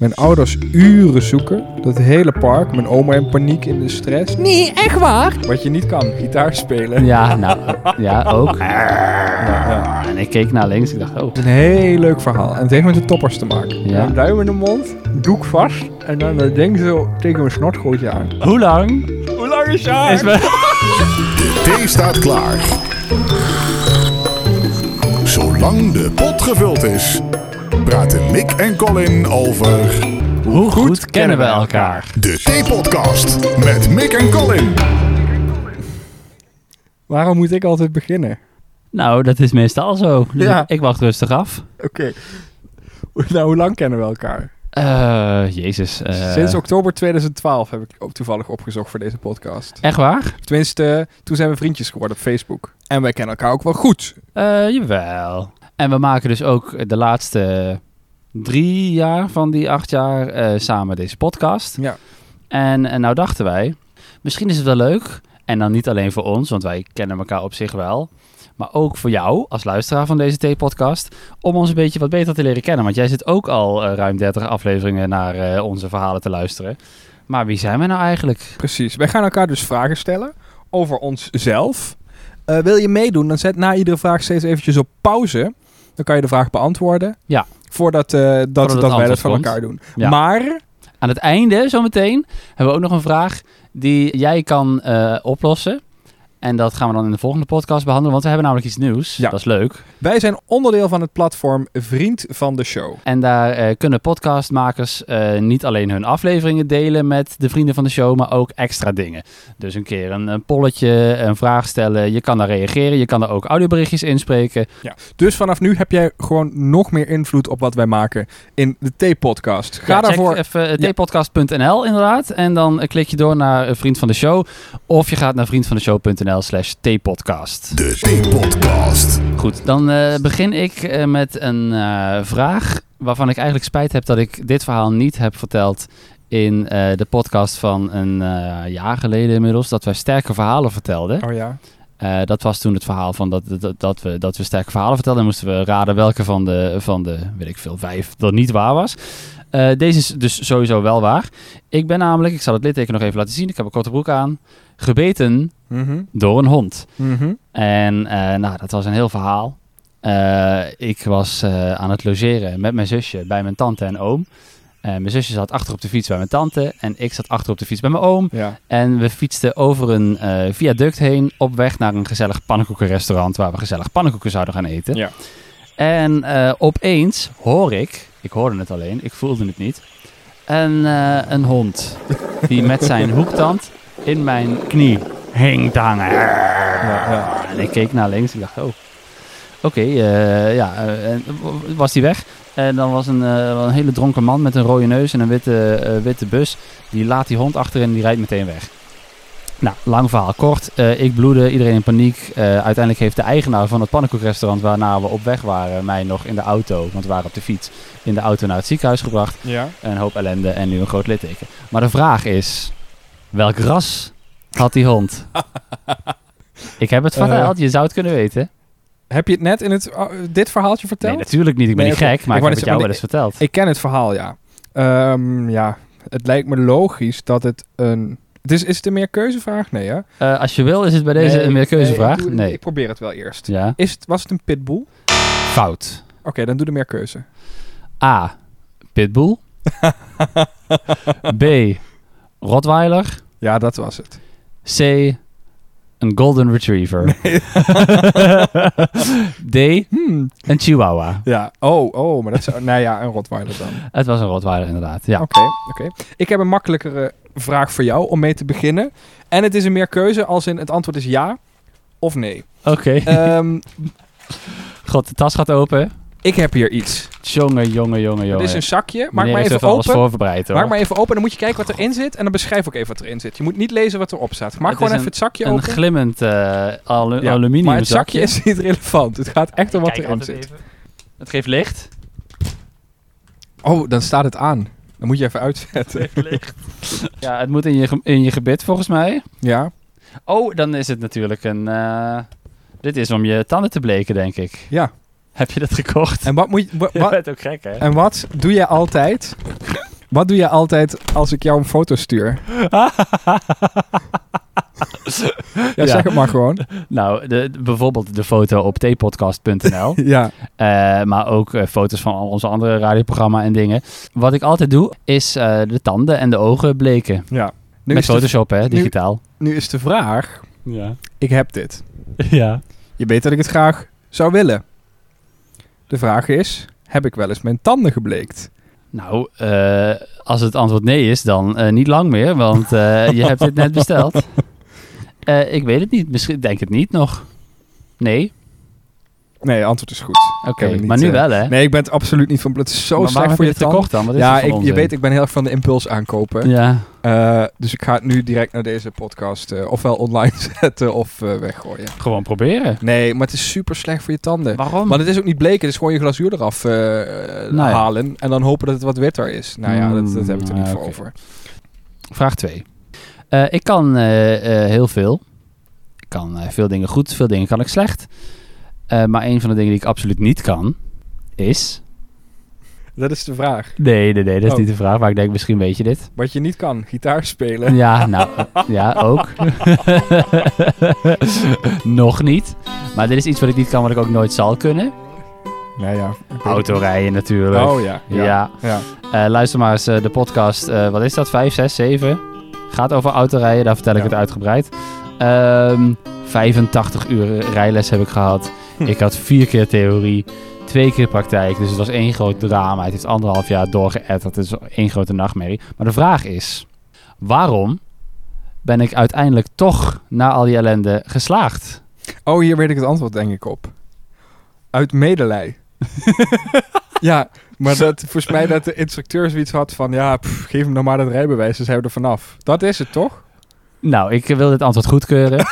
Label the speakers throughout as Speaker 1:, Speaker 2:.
Speaker 1: Mijn ouders uren zoeken. Dat hele park. Mijn oma in paniek in de stress.
Speaker 2: Nee, echt waar?
Speaker 1: Wat je niet kan, gitaar spelen.
Speaker 2: Ja, nou, ja, ook. Ja, En ik keek naar links, ik dacht, oh.
Speaker 1: Het is een heel leuk verhaal. En het heeft met de toppers te maken.
Speaker 2: Ja.
Speaker 1: Een duim in de mond, doek vast. En dan eh, denk je zo tegen mijn snort gooit je aan.
Speaker 2: Hoe lang
Speaker 1: Hoe lang is je
Speaker 2: is wel...
Speaker 3: thee staat klaar. Zolang de pot gevuld is, praten Mick en Colin over
Speaker 2: Hoe goed kennen we elkaar?
Speaker 3: de Theepodcast met Mick en Colin.
Speaker 1: Waarom moet ik altijd beginnen?
Speaker 2: Nou, dat is meestal zo. Dus
Speaker 1: Ja.
Speaker 2: ik, ik wacht rustig af.
Speaker 1: Oké. Nou, hoe lang kennen we elkaar?
Speaker 2: Eh, jezus. eh,
Speaker 1: Sinds oktober 2012 heb ik ook toevallig opgezocht voor deze podcast.
Speaker 2: Echt waar?
Speaker 1: Tenminste, toen zijn we vriendjes geworden op Facebook. En wij kennen elkaar ook wel goed.
Speaker 2: Eh, jawel. En we maken dus ook de laatste drie jaar van die acht jaar eh, samen deze podcast.
Speaker 1: Ja.
Speaker 2: En, en nou dachten wij, misschien is het wel leuk. En dan niet alleen voor ons, want wij kennen elkaar op zich wel. Maar ook voor jou als luisteraar van deze T-podcast. Om ons een beetje wat beter te leren kennen. Want jij zit ook al eh, ruim 30 afleveringen naar eh, onze verhalen te luisteren. Maar wie zijn wij nou eigenlijk?
Speaker 1: Precies. Wij gaan elkaar dus vragen stellen over onszelf. Eh, wil je meedoen, dan zet na iedere vraag steeds eventjes op pauze. Dan kan je de vraag beantwoorden.
Speaker 2: Ja.
Speaker 1: Voordat, eh, dat, dat
Speaker 2: het
Speaker 1: wij dat
Speaker 2: antwoord
Speaker 1: van
Speaker 2: komt.
Speaker 1: elkaar doen.
Speaker 2: Ja.
Speaker 1: Maar,
Speaker 2: Aan het einde, zometeen, hebben we ook nog een vraag die jij kan eh, oplossen. En dat gaan we dan in de volgende podcast behandelen, want we hebben namelijk iets nieuws.
Speaker 1: Ja.
Speaker 2: Dat is leuk.
Speaker 1: wij zijn onderdeel van het platform Vriend van de Show.
Speaker 2: En daar eh, kunnen podcastmakers eh, niet alleen hun afleveringen delen met de vrienden van de show, maar ook extra dingen. Dus een keer een, een polletje, een vraag stellen. Je kan daar reageren, je kan daar ook audioberichtjes inspreken.
Speaker 1: Dus vanaf nu heb jij gewoon nog meer invloed op wat wij maken in de T-podcast. Ga
Speaker 2: Ja, check
Speaker 1: daarvoor
Speaker 2: even eh,
Speaker 1: Ja.
Speaker 2: tpodcast.nl inderdaad. En dan eh, klik je door naar eh, Vriend van de Show. Of je gaat naar vriendvandeshow.nl slash tpodcast.
Speaker 3: De Theepodcast.
Speaker 2: Goed, dan eh, begin ik eh, met een eh, vraag waarvan ik eigenlijk spijt heb dat ik dit verhaal niet heb verteld in eh, de podcast van een eh, jaar geleden inmiddels, dat wij sterke verhalen vertelden.
Speaker 1: Oh ja.
Speaker 2: Eh, dat was toen het verhaal van dat, dat, dat, we, dat we sterke verhalen vertelden en moesten we raden welke van de, van de weet ik veel, vijf dat niet waar was. Eh, deze is dus sowieso wel waar. Ik ben namelijk, ik zal het litteken nog even laten zien, ik heb een korte broek aan, gebeten
Speaker 1: Mhm.
Speaker 2: door een hond.
Speaker 1: Mhm.
Speaker 2: En eh, nou, dat was een heel verhaal. Eh, ik was eh, aan het logeren met mijn zusje bij mijn tante en oom. Eh, mijn zusje zat achter op de fiets bij mijn tante en ik zat achter op de fiets bij mijn oom.
Speaker 1: Ja.
Speaker 2: En we fietsten over een eh, viaduct heen op weg naar een gezellig pannenkoekenrestaurant waar we gezellig pannenkoeken zouden gaan eten.
Speaker 1: Ja.
Speaker 2: En eh, opeens hoor ik, ik hoorde het alleen, ik voelde het niet, een, eh, een hond die met zijn hoektand in mijn knie hing te hangen.
Speaker 1: Ja, ja.
Speaker 2: En ik keek naar links en ik dacht, oh, oké, eh, ja, eh, en w- was die weg. En dan was een, eh, wel een hele dronken man met een rode neus en een witte, eh, witte bus. Die laat die hond achter en die rijdt meteen weg. Nou, lang verhaal kort. Eh, ik bloedde, iedereen in paniek. Eh, uiteindelijk heeft de eigenaar van het pannenkoekrestaurant waarna we op weg waren, mij nog in de auto, want we waren op de fiets, in de auto naar het ziekenhuis gebracht.
Speaker 1: Ja.
Speaker 2: Een hoop ellende en nu een groot litteken. Maar de vraag is, welk ras had die hond? ik heb het verteld, je zou het kunnen weten.
Speaker 1: Heb je het net in het, oh, dit verhaaltje verteld?
Speaker 2: Nee, natuurlijk niet. Ik ben
Speaker 1: Nee,
Speaker 2: niet
Speaker 1: oké.
Speaker 2: gek, maar
Speaker 1: Ik
Speaker 2: ik,
Speaker 1: wou
Speaker 2: heb het
Speaker 1: net
Speaker 2: jou wel eens
Speaker 1: zeggen,
Speaker 2: verteld.
Speaker 1: Ik ken het verhaal, ja. Ehm, ja, het lijkt me logisch dat het een... Het is, is het een meerkeuzevraag? Nee, hè?
Speaker 2: Eh, als je wil, is het bij deze
Speaker 1: Nee,
Speaker 2: een meerkeuzevraag?
Speaker 1: nee, ik
Speaker 2: Nee.
Speaker 1: doe- Ik probeer het wel eerst.
Speaker 2: Ja.
Speaker 1: Is het, was het een pitbull? Oké,
Speaker 2: Fout.
Speaker 1: dan doe de meerkeuze.
Speaker 2: A. Pitbull. B. Rottweiler.
Speaker 1: Ja, dat was het.
Speaker 2: C. Een Golden Retriever. D.
Speaker 1: Hmm.
Speaker 2: Een Chihuahua.
Speaker 1: Ja, oh, oh, maar dat zou... nou ja, een Rottweiler dan.
Speaker 2: Het was een Rottweiler inderdaad, ja.
Speaker 1: Oké, oké. Ik heb een makkelijkere vraag voor jou om mee te beginnen. En het is een meerkeuze als in het antwoord is ja of nee.
Speaker 2: Oké.
Speaker 1: Ehm,
Speaker 2: God, de tas gaat open.
Speaker 1: ik heb hier iets.
Speaker 2: Jongen, jongen, jongen, jongen.
Speaker 1: Het is een zakje. Maak
Speaker 2: Meneer
Speaker 1: maar
Speaker 2: is
Speaker 1: even
Speaker 2: alles
Speaker 1: open.
Speaker 2: voorbereid hoor.
Speaker 1: Maak maar even open, dan moet je kijken wat erin zit. En dan beschrijf ook even wat erin zit. Je moet niet lezen wat erop staat. Maak
Speaker 2: Het
Speaker 1: gewoon
Speaker 2: is
Speaker 1: even het zakje
Speaker 2: een
Speaker 1: open.
Speaker 2: glimmend eh, alu-
Speaker 1: Ja,
Speaker 2: aluminium
Speaker 1: maar het zakje is niet relevant. Het gaat echt om wat erin zit.
Speaker 2: Het geeft licht.
Speaker 1: Oh, dan staat het aan. Dan moet je even uitzetten.
Speaker 2: Ja, het moet in je, ge- in je gebit volgens mij.
Speaker 1: Ja,
Speaker 2: Oh, dan is het natuurlijk een... eh, dit is om je tanden te bleken, denk ik.
Speaker 1: ja.
Speaker 2: Heb je dat gekocht?
Speaker 1: En wat, moet je, wa-
Speaker 2: Je
Speaker 1: wa-
Speaker 2: bent ook gek, hè?
Speaker 1: en wat doe jij altijd Wat doe je altijd als ik jou een foto stuur? ja,
Speaker 2: Ja.
Speaker 1: zeg het maar gewoon.
Speaker 2: Nou, de, de- bijvoorbeeld de foto op tpodcast.nl.
Speaker 1: Ja,
Speaker 2: Eh, maar ook eh, foto's van al onze andere radioprogramma en dingen. Wat ik altijd doe, is eh, de tanden en de ogen bleken.
Speaker 1: ja. Nu,
Speaker 2: Met
Speaker 1: is de,
Speaker 2: Photoshop, hè, digitaal.
Speaker 1: nu is de vraag,
Speaker 2: Ja.
Speaker 1: ik heb dit.
Speaker 2: ja.
Speaker 1: Je weet dat ik het graag zou willen. De vraag is, heb ik wel eens mijn tanden gebleekt?
Speaker 2: Nou, eh, als het antwoord nee is, dan eh, niet lang meer, want eh, je hebt dit net besteld. Eh, ik weet het niet. Misschien denk het niet nog. Nee?
Speaker 1: Nee, antwoord is goed.
Speaker 2: Oké,
Speaker 1: heb het niet,
Speaker 2: maar nu
Speaker 1: eh,
Speaker 2: wel, hè?
Speaker 1: Nee, ik ben het absoluut niet van plan. Het is zo
Speaker 2: maar waarom
Speaker 1: slecht
Speaker 2: heb
Speaker 1: voor je
Speaker 2: je
Speaker 1: tanden.
Speaker 2: het gekocht dan? Wat is
Speaker 1: Ja,
Speaker 2: dit voor
Speaker 1: ik, je
Speaker 2: onzin?
Speaker 1: weet, ik ben heel erg van de impuls aankopen.
Speaker 2: Ja,
Speaker 1: Eh, dus ik ga het nu direct naar deze podcast eh, ofwel online zetten of eh, weggooien.
Speaker 2: gewoon proberen.
Speaker 1: Nee, maar het is super slecht voor je tanden.
Speaker 2: Waarom?
Speaker 1: Maar het is ook niet bleken, het is gewoon je glazuur eraf eh, eh,
Speaker 2: Nou ja.
Speaker 1: halen en dan hopen dat het wat witter is. Nou ja, dat, dat heb ik er
Speaker 2: Mm,
Speaker 1: niet
Speaker 2: ja,
Speaker 1: voor
Speaker 2: oké.
Speaker 1: over.
Speaker 2: Vraag 2. ik kan eh, eh, heel veel. Ik kan eh, veel dingen goed, veel dingen kan ik slecht. Eh, maar een van de dingen die ik absoluut niet kan, is...
Speaker 1: Dat is de vraag.
Speaker 2: Nee, nee, nee, dat is
Speaker 1: Oh.
Speaker 2: niet de vraag. Maar ik denk, misschien weet je dit.
Speaker 1: Wat je niet kan, gitaar spelen.
Speaker 2: Ja, nou, eh, ja, ook. Nog niet. Maar dit is iets wat ik niet kan, wat ik ook nooit zal kunnen.
Speaker 1: Nou ja.
Speaker 2: Autorijden natuurlijk.
Speaker 1: Oh ja.
Speaker 2: ja.
Speaker 1: Ja. ja.
Speaker 2: Eh, luister maar eens eh, de podcast, eh, wat is dat, 5, 6, 7? Gaat over autorijden, daar vertel ik
Speaker 1: Ja.
Speaker 2: het uitgebreid. Ehm 85 uur rijles heb ik gehad.
Speaker 1: Hm.
Speaker 2: Ik had vier keer theorie, twee keer praktijk. Dus het was één groot drama. Het heeft anderhalf jaar doorgeëtterd. Het is één grote nachtmerrie. Maar de vraag is, waarom ben ik uiteindelijk toch na al die ellende geslaagd?
Speaker 1: Oh, hier weet ik het antwoord denk ik op. Uit medelij. ja, maar dat, volgens mij dat de instructeur zoiets had van... ja, pff, geef hem nou maar dat rijbewijs, dan zijn we er vanaf. Dat is het, toch?
Speaker 2: Nou, ik wil dit antwoord goedkeuren.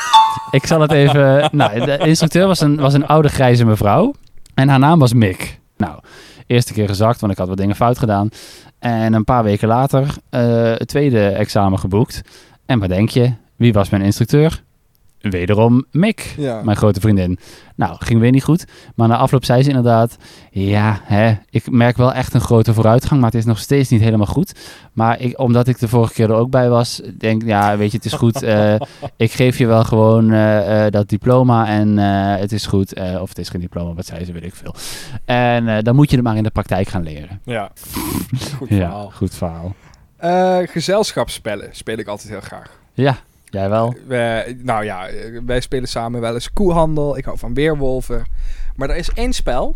Speaker 2: ik zal het even... Nou, de instructeur was een, was een oude grijze mevrouw. En haar naam was Mick. Nou, eerste keer gezakt, want ik had wat dingen fout gedaan. En een paar weken later eh, het tweede examen geboekt. En wat denk je? Wie was mijn instructeur? Wederom Mick,
Speaker 1: Ja.
Speaker 2: mijn grote vriendin. Nou, ging weer niet goed. Maar na afloop zei ze inderdaad... Ja, hè, ik merk wel echt een grote vooruitgang, maar het is nog steeds niet helemaal goed. Maar ik, omdat ik de vorige keer er ook bij was, denk ja, weet je, het is goed. eh, ik geef je wel gewoon eh, eh, dat diploma en eh, het is goed. eh, of het is geen diploma, wat zei ze, weet ik veel. En eh, dan moet je het maar in de praktijk gaan leren.
Speaker 1: Ja. Goed
Speaker 2: Ja,
Speaker 1: verhaal.
Speaker 2: goed verhaal.
Speaker 1: Eh, gezelschapsspellen speel ik altijd heel graag.
Speaker 2: Ja, jij wel.
Speaker 1: We- nou ja, eh, wij spelen samen wel eens koehandel. Ik hou van weerwolven. Maar er is één spel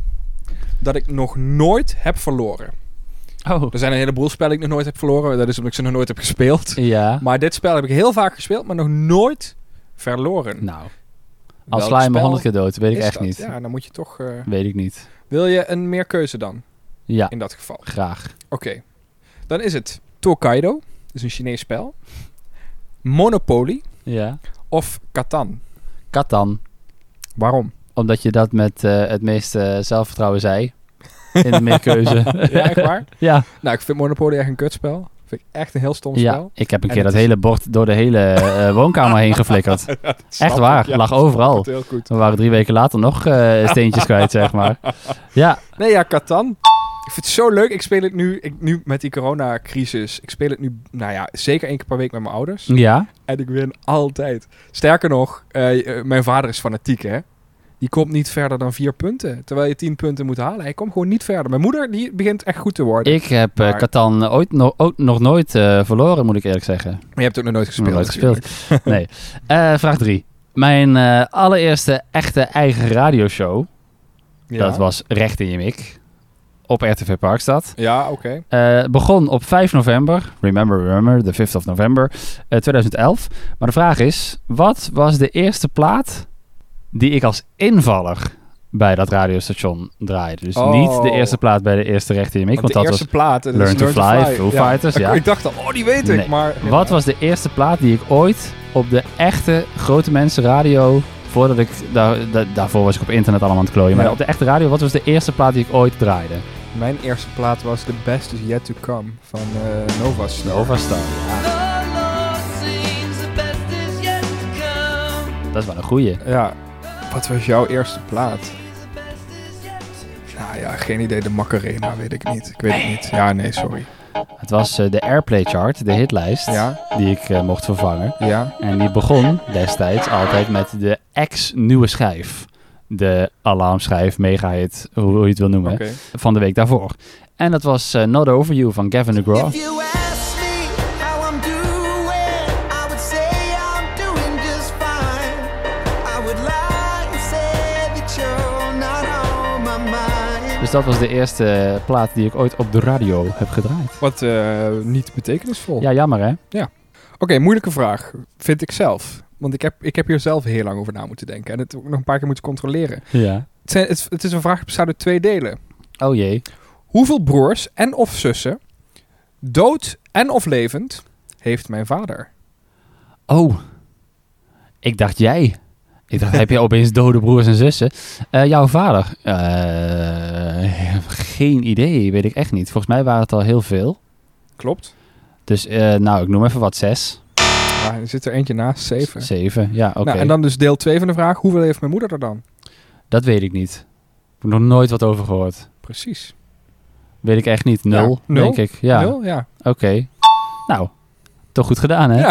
Speaker 1: dat ik nog nooit heb verloren.
Speaker 2: Oh,
Speaker 1: Er zijn een heleboel spellen die ik nog nooit heb verloren. Dat is omdat ik ze nog nooit heb gespeeld.
Speaker 2: ja.
Speaker 1: Maar dit spel heb ik heel vaak gespeeld, maar nog nooit verloren.
Speaker 2: Nou, als
Speaker 1: Welk
Speaker 2: sla je me
Speaker 1: spel
Speaker 2: honderd keer dood, weet ik
Speaker 1: is
Speaker 2: echt
Speaker 1: dat?
Speaker 2: niet.
Speaker 1: Ja, dan moet je toch... eh,
Speaker 2: Weet ik niet.
Speaker 1: Wil je een meer keuze dan,
Speaker 2: Ja,
Speaker 1: in dat geval?
Speaker 2: graag.
Speaker 1: Oké. Dan is het Tokaido. Dat is een Chinees spel. Monopoly
Speaker 2: Ja.
Speaker 1: of Catan.
Speaker 2: Katan.
Speaker 1: Waarom?
Speaker 2: Omdat je dat met eh, het meeste zelfvertrouwen zei. In de meerkeuze.
Speaker 1: Ja, echt waar?
Speaker 2: ja.
Speaker 1: nou, ik vind Monopoly echt een kutspel. Vind ik echt een heel stom
Speaker 2: ja, Oh.
Speaker 1: spel.
Speaker 2: ik heb een
Speaker 1: En
Speaker 2: keer
Speaker 1: het
Speaker 2: dat
Speaker 1: is-
Speaker 2: hele bord door de hele eh, woonkamer heen geflikkerd. Echt waar,
Speaker 1: Ja,
Speaker 2: lag overal.
Speaker 1: Goed, heel goed.
Speaker 2: We waren drie weken later nog eh, steentjes kwijt, zeg maar. Ja,
Speaker 1: Nee, ja, Catan. Ik vind het zo leuk. Ik speel het nu, ik, nu met die coronacrisis. Ik speel het nu, nou ja, zeker één keer per week met mijn ouders.
Speaker 2: ja.
Speaker 1: En ik win altijd. Sterker nog, eh, eh, mijn vader is fanatiek, hè. Die komt niet verder dan vier punten. Terwijl je tien punten moet halen. Hij komt gewoon niet verder. Mijn moeder, die begint echt goed te worden.
Speaker 2: Ik heb eh,
Speaker 1: Maar-
Speaker 2: Catan ooit no- ook nog nooit eh, verloren, moet ik eerlijk zeggen.
Speaker 1: Maar je hebt ook nog nooit gespeeld.
Speaker 2: Nog nooit
Speaker 1: natuurlijk.
Speaker 2: gespeeld. Nee. Eh, vraag drie. Mijn eh, allereerste echte eigen radioshow,
Speaker 1: Ja,
Speaker 2: dat was Recht in je Mik, op RTV Parkstad.
Speaker 1: Ja, oké.
Speaker 2: Eh, begon op 5 november, remember, remember, de 5th of november, eh, 2011. Maar de vraag is, wat was de eerste plaat die ik als invaller bij dat radiostation draaide? Dus
Speaker 1: Oh.
Speaker 2: niet de eerste plaat bij de eerste rechter in je mik, want,
Speaker 1: Want de
Speaker 2: dat
Speaker 1: eerste plaat... eh, dat is
Speaker 2: Learn to Fly, Foo Fighters, ja.
Speaker 1: Ik dacht al, oh, die weet ik.
Speaker 2: Nee.
Speaker 1: Maar
Speaker 2: was... Wat was de eerste plaat die ik ooit op de echte grote mensen radio, voordat ik, daar, da- daarvoor was ik op internet allemaal aan het klooien, maar
Speaker 1: Ja.
Speaker 2: op de echte radio, wat was de eerste plaat die ik ooit draaide?
Speaker 1: Mijn eerste plaat was The Best Is Yet To Come van eh, Nova Star.
Speaker 2: Nova Star.
Speaker 4: The Lord seems the best is yet to come.
Speaker 2: Dat is wel een goeie.
Speaker 1: Ja. Wat was jouw eerste plaat?
Speaker 4: The best is yet to
Speaker 1: Nou ja, geen idee. De Macarena, weet ik niet. Ik weet het niet. Ja, nee, sorry.
Speaker 2: Het was eh, de Airplay Chart, de hitlijst,
Speaker 1: Ja,
Speaker 2: die ik eh, mocht vervangen.
Speaker 1: ja.
Speaker 2: En die begon destijds altijd met de ex-nieuwe schijf. De alarmschijf, megahit, hoe hoe je het wil noemen,
Speaker 1: Oké.
Speaker 2: van de week daarvoor. En dat was eh, Not Over You van Gavin DeGraw.
Speaker 5: If you ask me how I'm doing, I would say I'm doing just fine. I would lie and say that you're not on my mind.
Speaker 2: Dus dat was de eerste eh, plaat die ik ooit op de radio heb gedraaid.
Speaker 1: Wat eh, niet betekenisvol.
Speaker 2: Ja, jammer hè?
Speaker 1: Oké, moeilijke vraag. Vind ik zelf. Want ik heb, ik heb hier zelf heel lang over na moeten denken. En het ook nog een paar keer moeten controleren.
Speaker 2: Ja.
Speaker 1: Het, zijn, het, het is een vraag die bestaat uit twee delen.
Speaker 2: Oh jee.
Speaker 1: Hoeveel broers en of zussen, dood en of levend, heeft mijn vader?
Speaker 2: Oh. Ik dacht jij. Ik dacht, heb je opeens dode broers en zussen? Eh, jouw vader? Eh, geen idee, weet ik echt niet. Volgens mij waren het al heel veel.
Speaker 1: Klopt.
Speaker 2: Dus, eh, nou, ik noem even wat. Zes,
Speaker 1: Ja, er zit er eentje naast, zeven.
Speaker 2: zeven. Ja, oké.
Speaker 1: Nou, en dan dus deel 2 van de vraag. Hoeveel heeft mijn moeder er dan?
Speaker 2: Dat weet ik niet. Ik heb nog nooit wat over gehoord.
Speaker 1: Precies.
Speaker 2: Weet ik echt niet. Nul,
Speaker 1: Ja, nul.
Speaker 2: denk ik. Ja.
Speaker 1: Nul? Ja.
Speaker 2: Oké. Nou, toch goed gedaan, hè?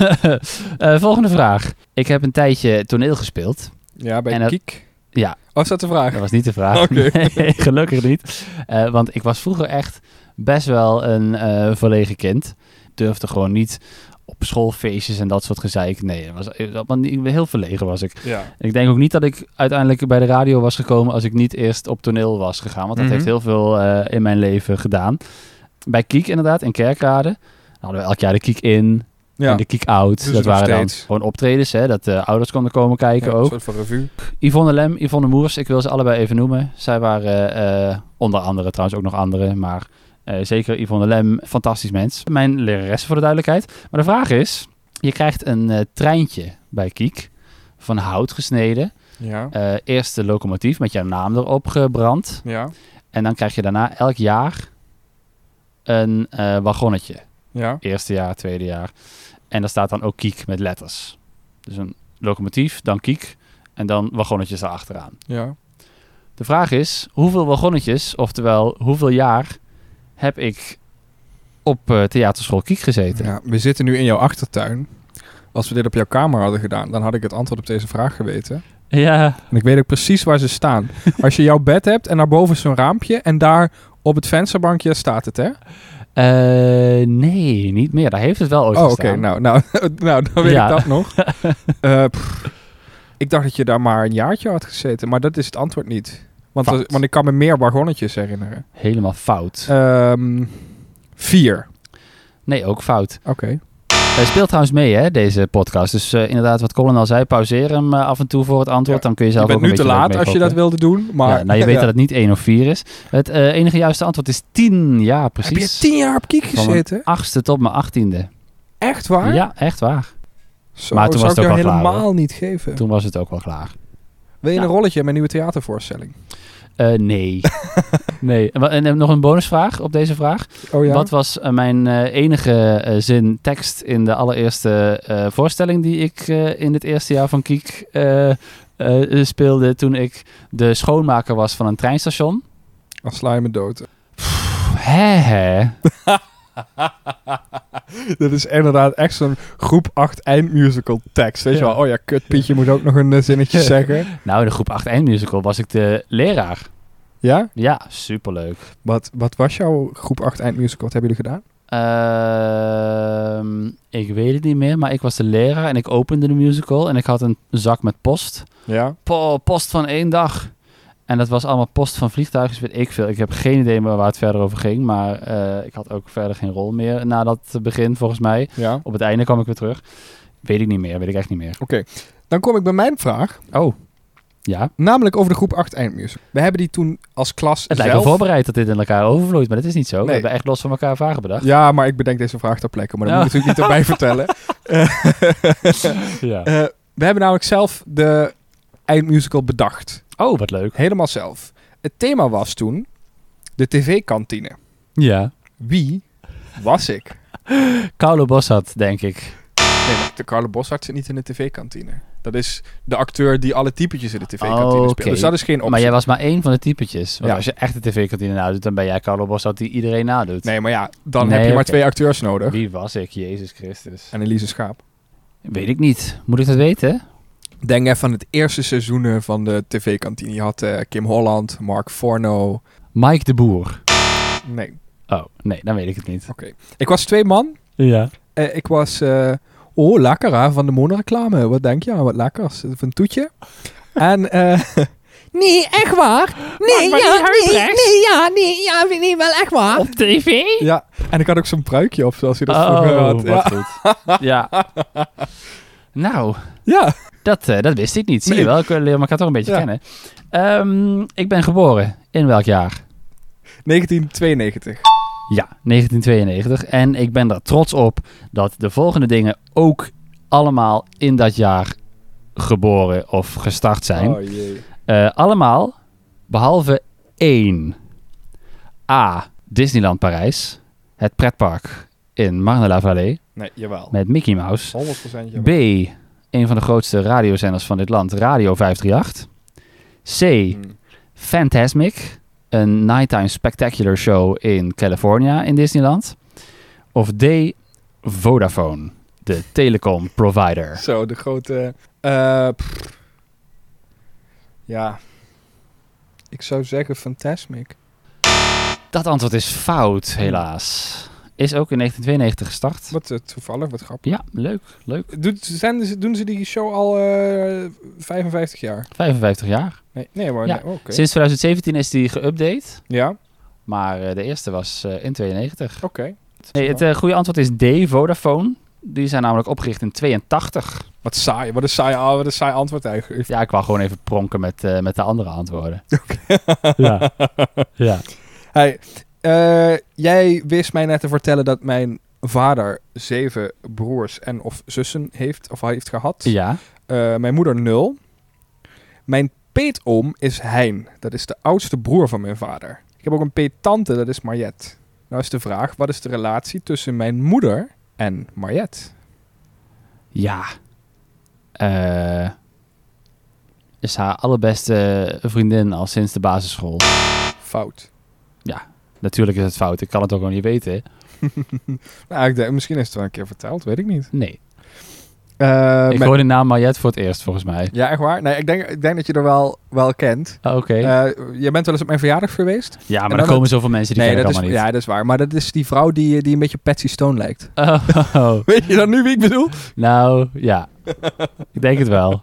Speaker 2: Eh, volgende vraag. Ik heb een tijdje toneel gespeeld.
Speaker 1: Ja, bij
Speaker 2: En dat-
Speaker 1: Kiek.
Speaker 2: Ja.
Speaker 1: Oh, is dat de vraag?
Speaker 2: Dat was niet de vraag.
Speaker 1: Oké.
Speaker 2: Nee, gelukkig niet. Eh, want ik was vroeger echt best wel een eh, verlegen kind. Durfde gewoon niet op schoolfeestjes en dat soort gezeik. Nee, het was, het was allemaal niet- heel verlegen was ik.
Speaker 1: Ja.
Speaker 2: Ik denk ook niet dat ik uiteindelijk bij de radio was gekomen als ik niet eerst op toneel was gegaan. Want dat
Speaker 1: Mhm.
Speaker 2: heeft heel veel eh, in mijn leven gedaan. Bij Kiek inderdaad, in Kerkrade. Dan hadden we elk jaar de Kiek in
Speaker 1: Ja.
Speaker 2: en de Kiek out.
Speaker 1: Doen ze
Speaker 2: dat
Speaker 1: nog
Speaker 2: waren dan
Speaker 1: steeds.
Speaker 2: gewoon optredens, hè, dat de ouders konden komen kijken
Speaker 1: Ja,
Speaker 2: ook.
Speaker 1: Een soort van revue.
Speaker 2: Yvonne Lem, Yvonne Moers, ik wil ze allebei even noemen. Zij waren eh, onder andere, trouwens ook nog andere, maar eh, zeker Yvonne Lem, fantastisch mens. Mijn lerares voor de duidelijkheid. Maar de vraag is, je krijgt een eh, treintje bij Kiek, van hout gesneden.
Speaker 1: Ja.
Speaker 2: Eh, eerst de locomotief met jouw naam erop gebrand.
Speaker 1: Ja.
Speaker 2: En dan krijg je daarna elk jaar een eh, wagonnetje.
Speaker 1: Ja.
Speaker 2: Eerste jaar, tweede jaar. En daar staat dan ook Kiek met letters. Dus een locomotief, dan Kiek en dan wagonnetjes erachteraan.
Speaker 1: Ja.
Speaker 2: De vraag is, hoeveel wagonnetjes, oftewel hoeveel jaar, heb ik op eh, theaterschool Kiek gezeten?
Speaker 1: ja. We zitten nu in jouw achtertuin. Als we dit op jouw kamer hadden gedaan, dan had ik het antwoord op deze vraag geweten.
Speaker 2: Ja.
Speaker 1: En ik weet ook precies waar ze staan. Als je jouw bed hebt en daarboven is zo'n raampje en daar op het vensterbankje staat het, hè?
Speaker 2: Eh, nee, niet meer. Daar heeft het wel ooit
Speaker 1: Oh, oké.
Speaker 2: gestaan.
Speaker 1: Nou, nou, nou, dan weet
Speaker 2: Ja.
Speaker 1: ik dat nog. Eh, pff. ik dacht dat je daar maar een jaartje had gezeten, maar dat is het antwoord niet. Want,
Speaker 2: Fout.
Speaker 1: dat- want ik kan me meer wagonnetjes herinneren.
Speaker 2: Helemaal fout.
Speaker 1: Ehm, vier.
Speaker 2: Nee, ook fout.
Speaker 1: Oké.
Speaker 2: Hij speelt trouwens mee, hè, deze podcast. Dus eh, inderdaad, wat Colin al zei, pauzeer hem eh, af en toe voor het antwoord.
Speaker 1: Ja.
Speaker 2: Dan kun je
Speaker 1: Je
Speaker 2: zelf
Speaker 1: bent
Speaker 2: ook een
Speaker 1: nu te
Speaker 2: beetje
Speaker 1: laat als je dat
Speaker 2: meegokken.
Speaker 1: wilde doen, maar...
Speaker 2: Ja, nou, je weet dat het niet 1 of 4 is. Het eh, enige juiste antwoord is 10. Ja, precies.
Speaker 1: Heb je tien jaar op kiek
Speaker 2: Van mijn
Speaker 1: gezeten?
Speaker 2: achtste tot mijn aštiende.
Speaker 1: Echt waar?
Speaker 2: Ja, echt waar.
Speaker 1: Zo,
Speaker 2: Maar toen
Speaker 1: zou
Speaker 2: was het
Speaker 1: ik
Speaker 2: ook
Speaker 1: jou
Speaker 2: al klaar,
Speaker 1: helemaal niet geven.
Speaker 2: Toen was het ook wel klaar.
Speaker 1: Wil je een
Speaker 2: Ja.
Speaker 1: rolletje in mijn nieuwe theatervoorstelling?
Speaker 2: Eh, nee. nee. En, wa- en eh, nog een bonusvraag op deze vraag.
Speaker 1: Oh ja?
Speaker 2: Wat was eh, mijn eh, enige eh, zin tekst in de allereerste eh, voorstelling die ik eh, in het eerste jaar van Kiek eh, eh, eh, speelde toen ik de schoonmaker was van een treinstation?
Speaker 1: Dan sla je me dood.
Speaker 2: Hè hè.
Speaker 1: Dat is inderdaad echt zo'n groep 8 eindmusical tekst. Weet je
Speaker 2: Ja.
Speaker 1: wel, oh ja, kut Pietje moet ook nog een eh, zinnetje zeggen.
Speaker 2: Nou, in de groep 8 eindmusical was ik de leraar.
Speaker 1: Ja?
Speaker 2: Ja, superleuk.
Speaker 1: Wat, wat was jouw groep 8 eindmusical? Wat hebben jullie gedaan?
Speaker 2: Ehm, ik weet het niet meer, maar ik was de leraar en ik opende de musical en ik had een zak met post.
Speaker 1: Ja.
Speaker 2: Po- post van één dag. En dat was allemaal post van vliegtuigen, dus weet ik veel. Ik heb geen idee meer waar het verder over ging, maar eh, ik had ook verder geen rol meer na dat begin, volgens mij.
Speaker 1: Ja. Oké.
Speaker 2: Op het einde kwam ik weer terug. Weet ik niet meer, weet ik echt niet meer.
Speaker 1: Dan kom ik bij mijn vraag.
Speaker 2: Oh, ja. Het
Speaker 1: Namelijk over de groep 8 eindmusical. We hebben die toen als klas zelf...
Speaker 2: lijkt wel voorbereid dat dit in elkaar overvloeit, maar dat is niet zo. We
Speaker 1: Nee.
Speaker 2: hebben echt los van elkaar vragen bedacht.
Speaker 1: Ja, maar ik bedenk deze vraag ter plekke. Maar dat
Speaker 2: Oh.
Speaker 1: moet ik natuurlijk niet erbij vertellen.
Speaker 2: Ja.
Speaker 1: Eh, we hebben namelijk zelf de eindmusical bedacht.
Speaker 2: Oh, wat leuk.
Speaker 1: Helemaal zelf. Het thema was toen de tv-kantine.
Speaker 2: Ja.
Speaker 1: Wie was ik?
Speaker 2: Carlo Bossat, denk ik.
Speaker 1: Nee, maar de Carlo Bossart zit niet in de tv-kantine. Dat is de acteur die alle typetjes in de tv-kantine
Speaker 2: Oh, Oké.
Speaker 1: speelt. Dus dat is geen optie.
Speaker 2: Maar jij was maar één van de typetjes. Want
Speaker 1: Ja.
Speaker 2: als je echt de tv-kantine nadoet, dan ben jij Carlo Bos dat die iedereen nadoet.
Speaker 1: Nee, maar ja, dan
Speaker 2: Nee,
Speaker 1: heb je maar
Speaker 2: oké.
Speaker 1: twee acteurs nodig.
Speaker 2: Wie was ik? Jezus Christus.
Speaker 1: En Elise Schaap.
Speaker 2: Weet ik niet. Moet ik dat weten?
Speaker 1: Denk even aan het eerste seizoenen van de tv-kantine. Je had eh, Kim Holland, Mark Forno.
Speaker 2: Mike de Boer.
Speaker 1: Nee,
Speaker 2: Oh, nee, dan weet ik het niet.
Speaker 1: oké. Ik was twee man.
Speaker 2: Ja.
Speaker 1: Eh, ik was... eh, oh, lekker hè, van de monreclame. Wat denk je aan? Wat lekkers. Van een toetje. en... eh, nee, echt waar? Nee,
Speaker 2: maar
Speaker 1: ja,
Speaker 2: die
Speaker 1: nee,
Speaker 2: huidrechts.
Speaker 1: nee, ja, nee, ja, vind ik wel echt waar.
Speaker 2: Op tv?
Speaker 1: Ja, en ik had ook zo'n pruikje op, zoals hij dat vroeger
Speaker 2: Oh,
Speaker 1: had. Ja,
Speaker 2: wat goed. Ja. Nou,
Speaker 1: ja.
Speaker 2: dat, eh, dat wist ik niet. Zie je
Speaker 1: Nee.
Speaker 2: wel, ik leer elkaar toch een beetje
Speaker 1: Ja.
Speaker 2: kennen. Ehm, ik ben geboren. In welk jaar?
Speaker 1: 1992.
Speaker 2: Ja, 1992. En ik ben er trots op dat de volgende dingen ook allemaal in dat jaar geboren of gestart zijn.
Speaker 1: Oh jee.
Speaker 2: Eh, allemaal behalve één. A. Disneyland Parijs. Het pretpark in Marne la Vallée
Speaker 1: Nee, jawel.
Speaker 2: met Mickey Mouse.
Speaker 1: 100% jawel.
Speaker 2: B. Een van de grootste radiozenders van dit land, Radio 538. C.
Speaker 1: Hmm.
Speaker 2: Fantasmic, een nighttime spectacular show in California in Disneyland. Of D, Vodafone, de telecom provider.
Speaker 1: Zo, de grote... eh, pff. ja. Ik zou zeggen Fantasmic.
Speaker 2: Dat antwoord is fout, helaas. Is ook in 1992 gestart.
Speaker 1: Wat eh, toevallig, wat grappig.
Speaker 2: Ja, leuk, leuk.
Speaker 1: Doet, zijn, ze- doen ze die show al eh, 55 jaar?
Speaker 2: 55 jaar.
Speaker 1: Nee, nee maar...
Speaker 2: Ja,
Speaker 1: nee, oké.
Speaker 2: Sinds 2017 is die geüpdate,
Speaker 1: Ja, oké.
Speaker 2: maar eh, de eerste was eh, in 92. Nee, het eh, goede antwoord is D, Vodafone. Die zijn namelijk opgericht in 82.
Speaker 1: Wat saai, wat een saai, ah, wat een saai antwoord eigenlijk.
Speaker 2: Ja, ik wou gewoon even pronken met, eh, met de andere antwoorden. Ja. ja.
Speaker 1: Hey, eh, jij wist mij net te vertellen dat mijn vader zeven broers en of zussen heeft, of hij heeft gehad.
Speaker 2: Ja.
Speaker 1: Eh, mijn moeder nul. Mijn peetoom is Hein. Dat is de oudste broer van mijn vader. Ik heb ook een peettante, dat is Mariette. Nou is de vraag, wat is de relatie tussen mijn moeder en Mariette?
Speaker 2: Ja. Eh, is haar allerbeste vriendin al sinds de basisschool.
Speaker 1: Fout.
Speaker 2: Natuurlijk is het fout. Ik kan het ook gewoon niet weten.
Speaker 1: Nou, ik denk, misschien is het wel een keer verteld, weet ik niet.
Speaker 2: Nee.
Speaker 1: Eh,
Speaker 2: ik
Speaker 1: mijn-
Speaker 2: hoor de naam Mariette voor het eerst, volgens mij.
Speaker 1: Ja, echt waar? Nee, ik denk, ik denk dat je er wel, wel kent.
Speaker 2: Ah, Oké.
Speaker 1: Eh, je bent wel eens op mijn verjaardag geweest?
Speaker 2: ja, maar
Speaker 1: en
Speaker 2: er
Speaker 1: dan
Speaker 2: komen zoveel mensen die ken ik
Speaker 1: dat is,
Speaker 2: allemaal
Speaker 1: ja, dat is waar. Maar dat is die vrouw die, eh, die een beetje Patsy Stone lijkt.
Speaker 2: niet. Oh,
Speaker 1: Weet je dan nu wie ik bedoel?
Speaker 2: nou, ja. ik denk het wel.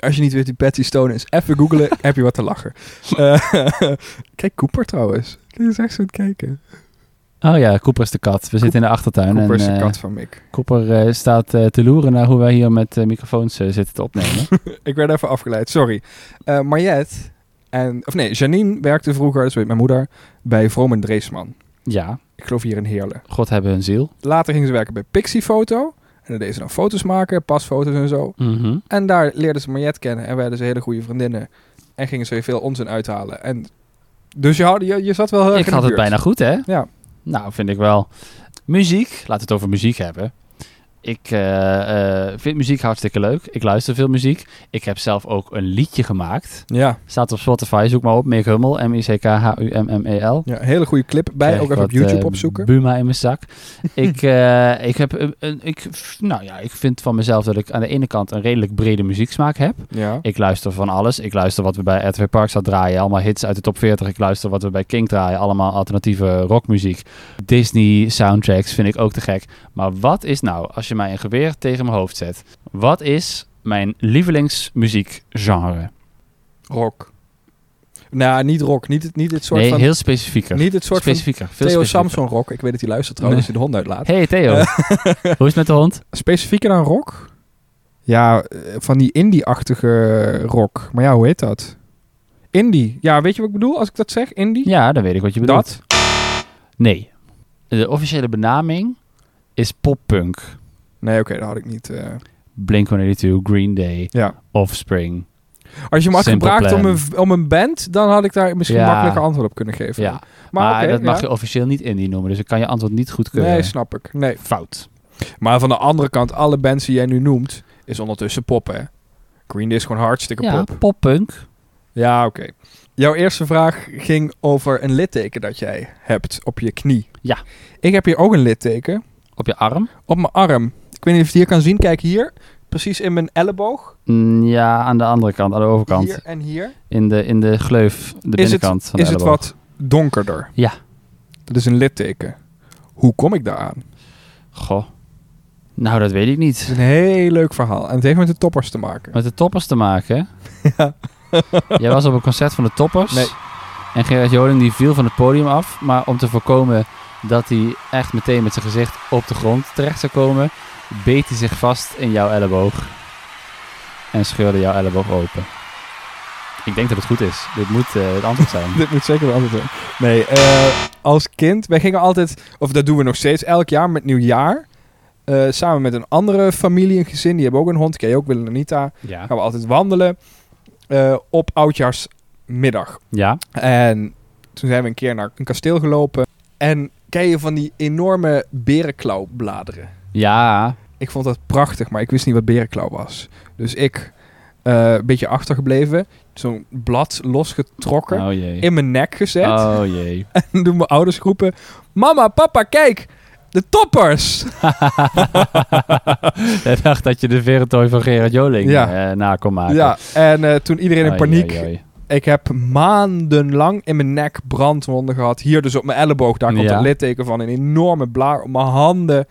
Speaker 1: Als je niet weet wie Patsy Stone is, even googlen, heb je wat te lachen. Eh, kijk Cooper trouwens. Die is echt zo aan het kijken.
Speaker 2: Oh ja, Cooper is de kat. We zitten in de achtertuin.
Speaker 1: Cooper is
Speaker 2: en,
Speaker 1: de
Speaker 2: eh,
Speaker 1: kat van Mick.
Speaker 2: Cooper eh, staat eh, te loeren naar hoe wij hier met eh, microfoons eh, zitten te opnemen.
Speaker 1: Ik werd even afgeleid, sorry. Eh Mariette, en, of nee, Janine werkte vroeger, dat weet mijn moeder, bij Vroom en Dreesman.
Speaker 2: ja,
Speaker 1: Ik geloof hier in Heerlen.
Speaker 2: God hebben hun ziel.
Speaker 1: Later ging ze werken bij Pixie Foto. En dan deed ze dan foto's maken, pasfoto's en zo.
Speaker 2: Mhm.
Speaker 1: En daar leerden ze Mariette kennen en werden ze hele goede vriendinnen. En gingen ze veel onzin uithalen. En dus je, had, je, je zat wel heel erg
Speaker 2: Ik
Speaker 1: in
Speaker 2: had
Speaker 1: de
Speaker 2: het
Speaker 1: buurt.
Speaker 2: bijna goed, hè?
Speaker 1: Ja.
Speaker 2: Nou, vind ik wel. Muziek, laten we het over muziek hebben. Ik eh, eh, vind muziek hartstikke leuk. Ik luister veel muziek. Ik heb zelf ook een liedje gemaakt.
Speaker 1: Ja,
Speaker 2: Staat op Spotify, zoek maar op. Mick Hummel, M-I-C-K-H-U-M-M-E-L.
Speaker 1: ja, hele goede clip. Bij
Speaker 2: Krijg
Speaker 1: ook
Speaker 2: ik
Speaker 1: even op
Speaker 2: wat,
Speaker 1: YouTube
Speaker 2: eh,
Speaker 1: opzoeken.
Speaker 2: Buma in mijn zak. ik, eh, ik heb een, een- ik, nou ja, ik vind van mezelf dat ik aan de ene kant een redelijk brede muzieksmaak heb.
Speaker 1: Ja.
Speaker 2: Ik luister van alles. Ik luister wat we bij RTV Parkstad draaien. Allemaal hits uit de top 40. Ik luister wat we bij King draaien. Allemaal alternatieve rockmuziek. Disney soundtracks vind ik ook te gek. Maar wat is nou, als je mij een geweer tegen mijn hoofd zet... Wat is mijn lievelingsmuziekgenre?
Speaker 1: Rock. Nou, niet rock. Niet, het- niet dit soort
Speaker 2: Nee,
Speaker 1: van...
Speaker 2: heel specifieker.
Speaker 1: Niet het soort
Speaker 2: specifieker.
Speaker 1: van
Speaker 2: veel
Speaker 1: Theo
Speaker 2: specifieker.
Speaker 1: Samson rock. Ik weet dat hij luistert trouwens als hij de hond uitlaat.
Speaker 2: Hey Theo, hoe is het met de hond?
Speaker 1: Specifieker dan rock? Ja, eh, van die indie-achtige rock. Maar ja, hoe heet dat? Indie. Ja, weet je wat ik bedoel als ik dat zeg? Indie?
Speaker 2: Ja, dan weet ik wat je bedoelt.
Speaker 1: dat?
Speaker 2: Nee. De officiële benaming is poppunk.
Speaker 1: Nee, oké, dat had ik niet... eh.
Speaker 2: Blink-182, Green Day,
Speaker 1: Ja.
Speaker 2: Offspring.
Speaker 1: Als je me had
Speaker 2: Simple
Speaker 1: gevraagd om
Speaker 2: plan.
Speaker 1: een, om een band, dan had ik daar misschien
Speaker 2: Ja.
Speaker 1: makkelijker antwoord op kunnen geven.
Speaker 2: Ja. Maar,
Speaker 1: Maar, oké,
Speaker 2: dat mag
Speaker 1: ja.
Speaker 2: je officieel niet indie noemen, dus ik kan je antwoord niet goedkeuren.
Speaker 1: Nee, snap ik. Nee.
Speaker 2: Fout.
Speaker 1: Maar van de andere kant, alle bands die jij nu noemt, is ondertussen pop, hè? Green Day is gewoon hartstikke
Speaker 2: Ja,
Speaker 1: pop.
Speaker 2: poppunk.
Speaker 1: Ja, oké. Jouw eerste vraag ging over een litteken dat jij hebt op je knie.
Speaker 2: Ja.
Speaker 1: Ik heb hier ook een litteken
Speaker 2: Op je arm?
Speaker 1: op mijn arm. Ik weet niet of je het hier kan zien. Kijk hier. Precies in mijn elleboog.
Speaker 2: Mm, Ja, aan de andere kant, aan de overkant.
Speaker 1: Hier en hier.
Speaker 2: In, de, in de gleuf, de binnenkant van de
Speaker 1: is het
Speaker 2: elleboog.
Speaker 1: wat donkerder?
Speaker 2: Ja.
Speaker 1: Dat is een litteken. Hoe kom ik daaraan?
Speaker 2: Goh. Nou, dat weet ik
Speaker 1: Het
Speaker 2: niet.
Speaker 1: is een heel leuk verhaal. En het heeft met de toppers te maken.
Speaker 2: Met de toppers te maken, hè? Jij was op een concert van de toppers.
Speaker 1: Nee.
Speaker 2: En Gerard Joling die viel van het podium af. Maar om te voorkomen dat hij echt meteen met zijn gezicht op de grond terecht zou komen, beet hij zich vast in jouw elleboog. En scheurde jouw elleboog open. Ik denk dat het goed is. Dit moet eh, het antwoord zijn.
Speaker 1: Dit moet zeker wel antwoord zijn. Nee, eh, als kind, wij gingen altijd, of dat doen we nog steeds, elk jaar met nieuwjaar. eh, samen met een andere familie, een gezin, die hebben ook een hond. Ken je ook, Willem en Anita.
Speaker 2: Ja.
Speaker 1: Gaan we altijd wandelen eh, op oudjaarsmiddag.
Speaker 2: Ja.
Speaker 1: En toen zijn we een keer naar een kasteel gelopen. En ken je van die enorme berenklauwbladeren?
Speaker 2: Ja.
Speaker 1: Ik vond dat prachtig, maar ik wist niet wat berenklauw was. Dus ik, eh, een beetje achtergebleven, zo'n blad losgetrokken,
Speaker 2: Oh jee.
Speaker 1: in mijn nek gezet.
Speaker 2: Oh jee.
Speaker 1: En doen mijn ouders roepen: Mama, papa, kijk! De toppers!
Speaker 2: Hij dacht dat je de verentooi van Gerard Joling
Speaker 1: Ja.
Speaker 2: eh, na kon maken.
Speaker 1: Ja, en eh, toen iedereen in
Speaker 2: Oei,
Speaker 1: paniek.
Speaker 2: oei, oei.
Speaker 1: Ik heb maandenlang in mijn nek brandwonden gehad. Hier dus op mijn elleboog, daar komt
Speaker 2: Ja.
Speaker 1: het litteken van. Een enorme blaar op mijn handen.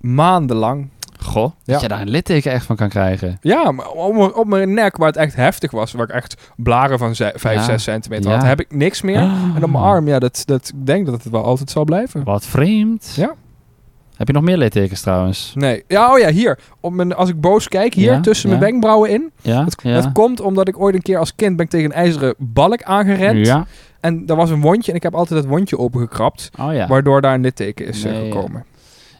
Speaker 1: Maandenlang.
Speaker 2: Goh,
Speaker 1: Ja.
Speaker 2: dat je daar een litteken echt van kan krijgen.
Speaker 1: Ja, maar op, mijn- op mijn nek, waar het echt heftig was. Waar ik echt blaren van 5,
Speaker 2: Ja.
Speaker 1: 6 centimeter
Speaker 2: Ja. Ah.
Speaker 1: had. Heb ik niks meer. En op mijn arm, ja, dat, dat, ik denk dat het wel altijd zal blijven.
Speaker 2: Wat vreemd.
Speaker 1: Ja.
Speaker 2: Heb je nog meer littekens trouwens?
Speaker 1: Nee. Ja, oh ja, hier. Op mijn, als ik boos kijk, hier
Speaker 2: Ja,
Speaker 1: tussen
Speaker 2: ja.
Speaker 1: mijn wenkbrauwen in.
Speaker 2: Ja.
Speaker 1: Dat,
Speaker 2: ja.
Speaker 1: dat komt omdat ik ooit een keer als kind ben ik tegen een ijzeren balk aangerend.
Speaker 2: Ja.
Speaker 1: En daar was een wondje en ik heb altijd dat wondje opengekrapt.
Speaker 2: Oh ja.
Speaker 1: Waardoor daar een litteken is eh,
Speaker 2: Nee, ja.
Speaker 1: gekomen.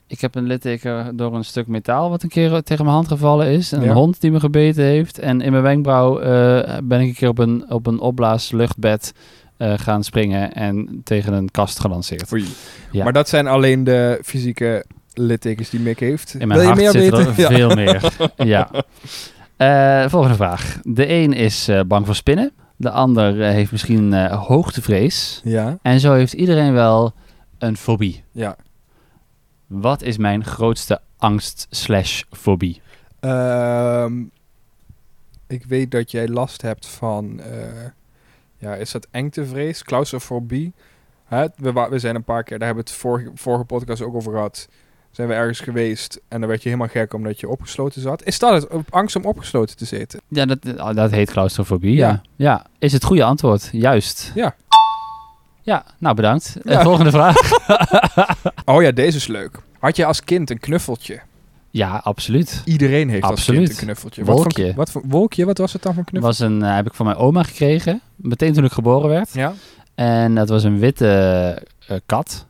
Speaker 2: Ik heb een litteken door een stuk metaal wat een keer tegen mijn hand gevallen is. En Een
Speaker 1: Ja.
Speaker 2: hond die me gebeten heeft. En in mijn wenkbrauw eh, ben ik een keer op een, op een opblaasluchtbed eh, gaan springen en tegen een kast gelanceerd. Ja.
Speaker 1: Maar dat zijn alleen de fysieke littekens die Mick heeft.
Speaker 2: In
Speaker 1: Wil
Speaker 2: mijn
Speaker 1: je
Speaker 2: hart
Speaker 1: meer
Speaker 2: zit
Speaker 1: weten?
Speaker 2: er
Speaker 1: Ja.
Speaker 2: veel meer. ja. Eh, volgende vraag. De een is eh, bang voor spinnen. De ander eh, heeft misschien eh, hoogtevrees.
Speaker 1: ja,
Speaker 2: En zo heeft iedereen wel een fobie.
Speaker 1: ja.
Speaker 2: Wat is mijn grootste angst slash fobie?
Speaker 1: Ehm, ik weet dat jij last hebt van, eh, ja, is dat engtevrees, claustrofobie? Hè, we, wa- we zijn een paar keer, daar hebben we het vorige, vorige podcast ook over gehad. Zijn we ergens geweest en dan werd je helemaal gek omdat je opgesloten zat. Is dat het? Op Angst om opgesloten te zitten?
Speaker 2: Ja, dat, oh, dat heet claustrofobie. Ja.
Speaker 1: Ja.
Speaker 2: ja. is het goede antwoord. Juist.
Speaker 1: Ja.
Speaker 2: Ja, nou bedankt. Eh,
Speaker 1: Ja.
Speaker 2: volgende vraag.
Speaker 1: Oh ja, deze is leuk. Had je als kind een knuffeltje?
Speaker 2: Ja, absoluut.
Speaker 1: Iedereen heeft als
Speaker 2: Absoluut.
Speaker 1: kind een knuffeltje. Wat
Speaker 2: Wolkje.
Speaker 1: voor, wat voor- wolkje? Wat was het dan voor knuffel?
Speaker 2: Was een, eh, heb ik van mijn oma gekregen. Meteen toen ik geboren werd.
Speaker 1: Ja?
Speaker 2: En dat was een witte eh, kat.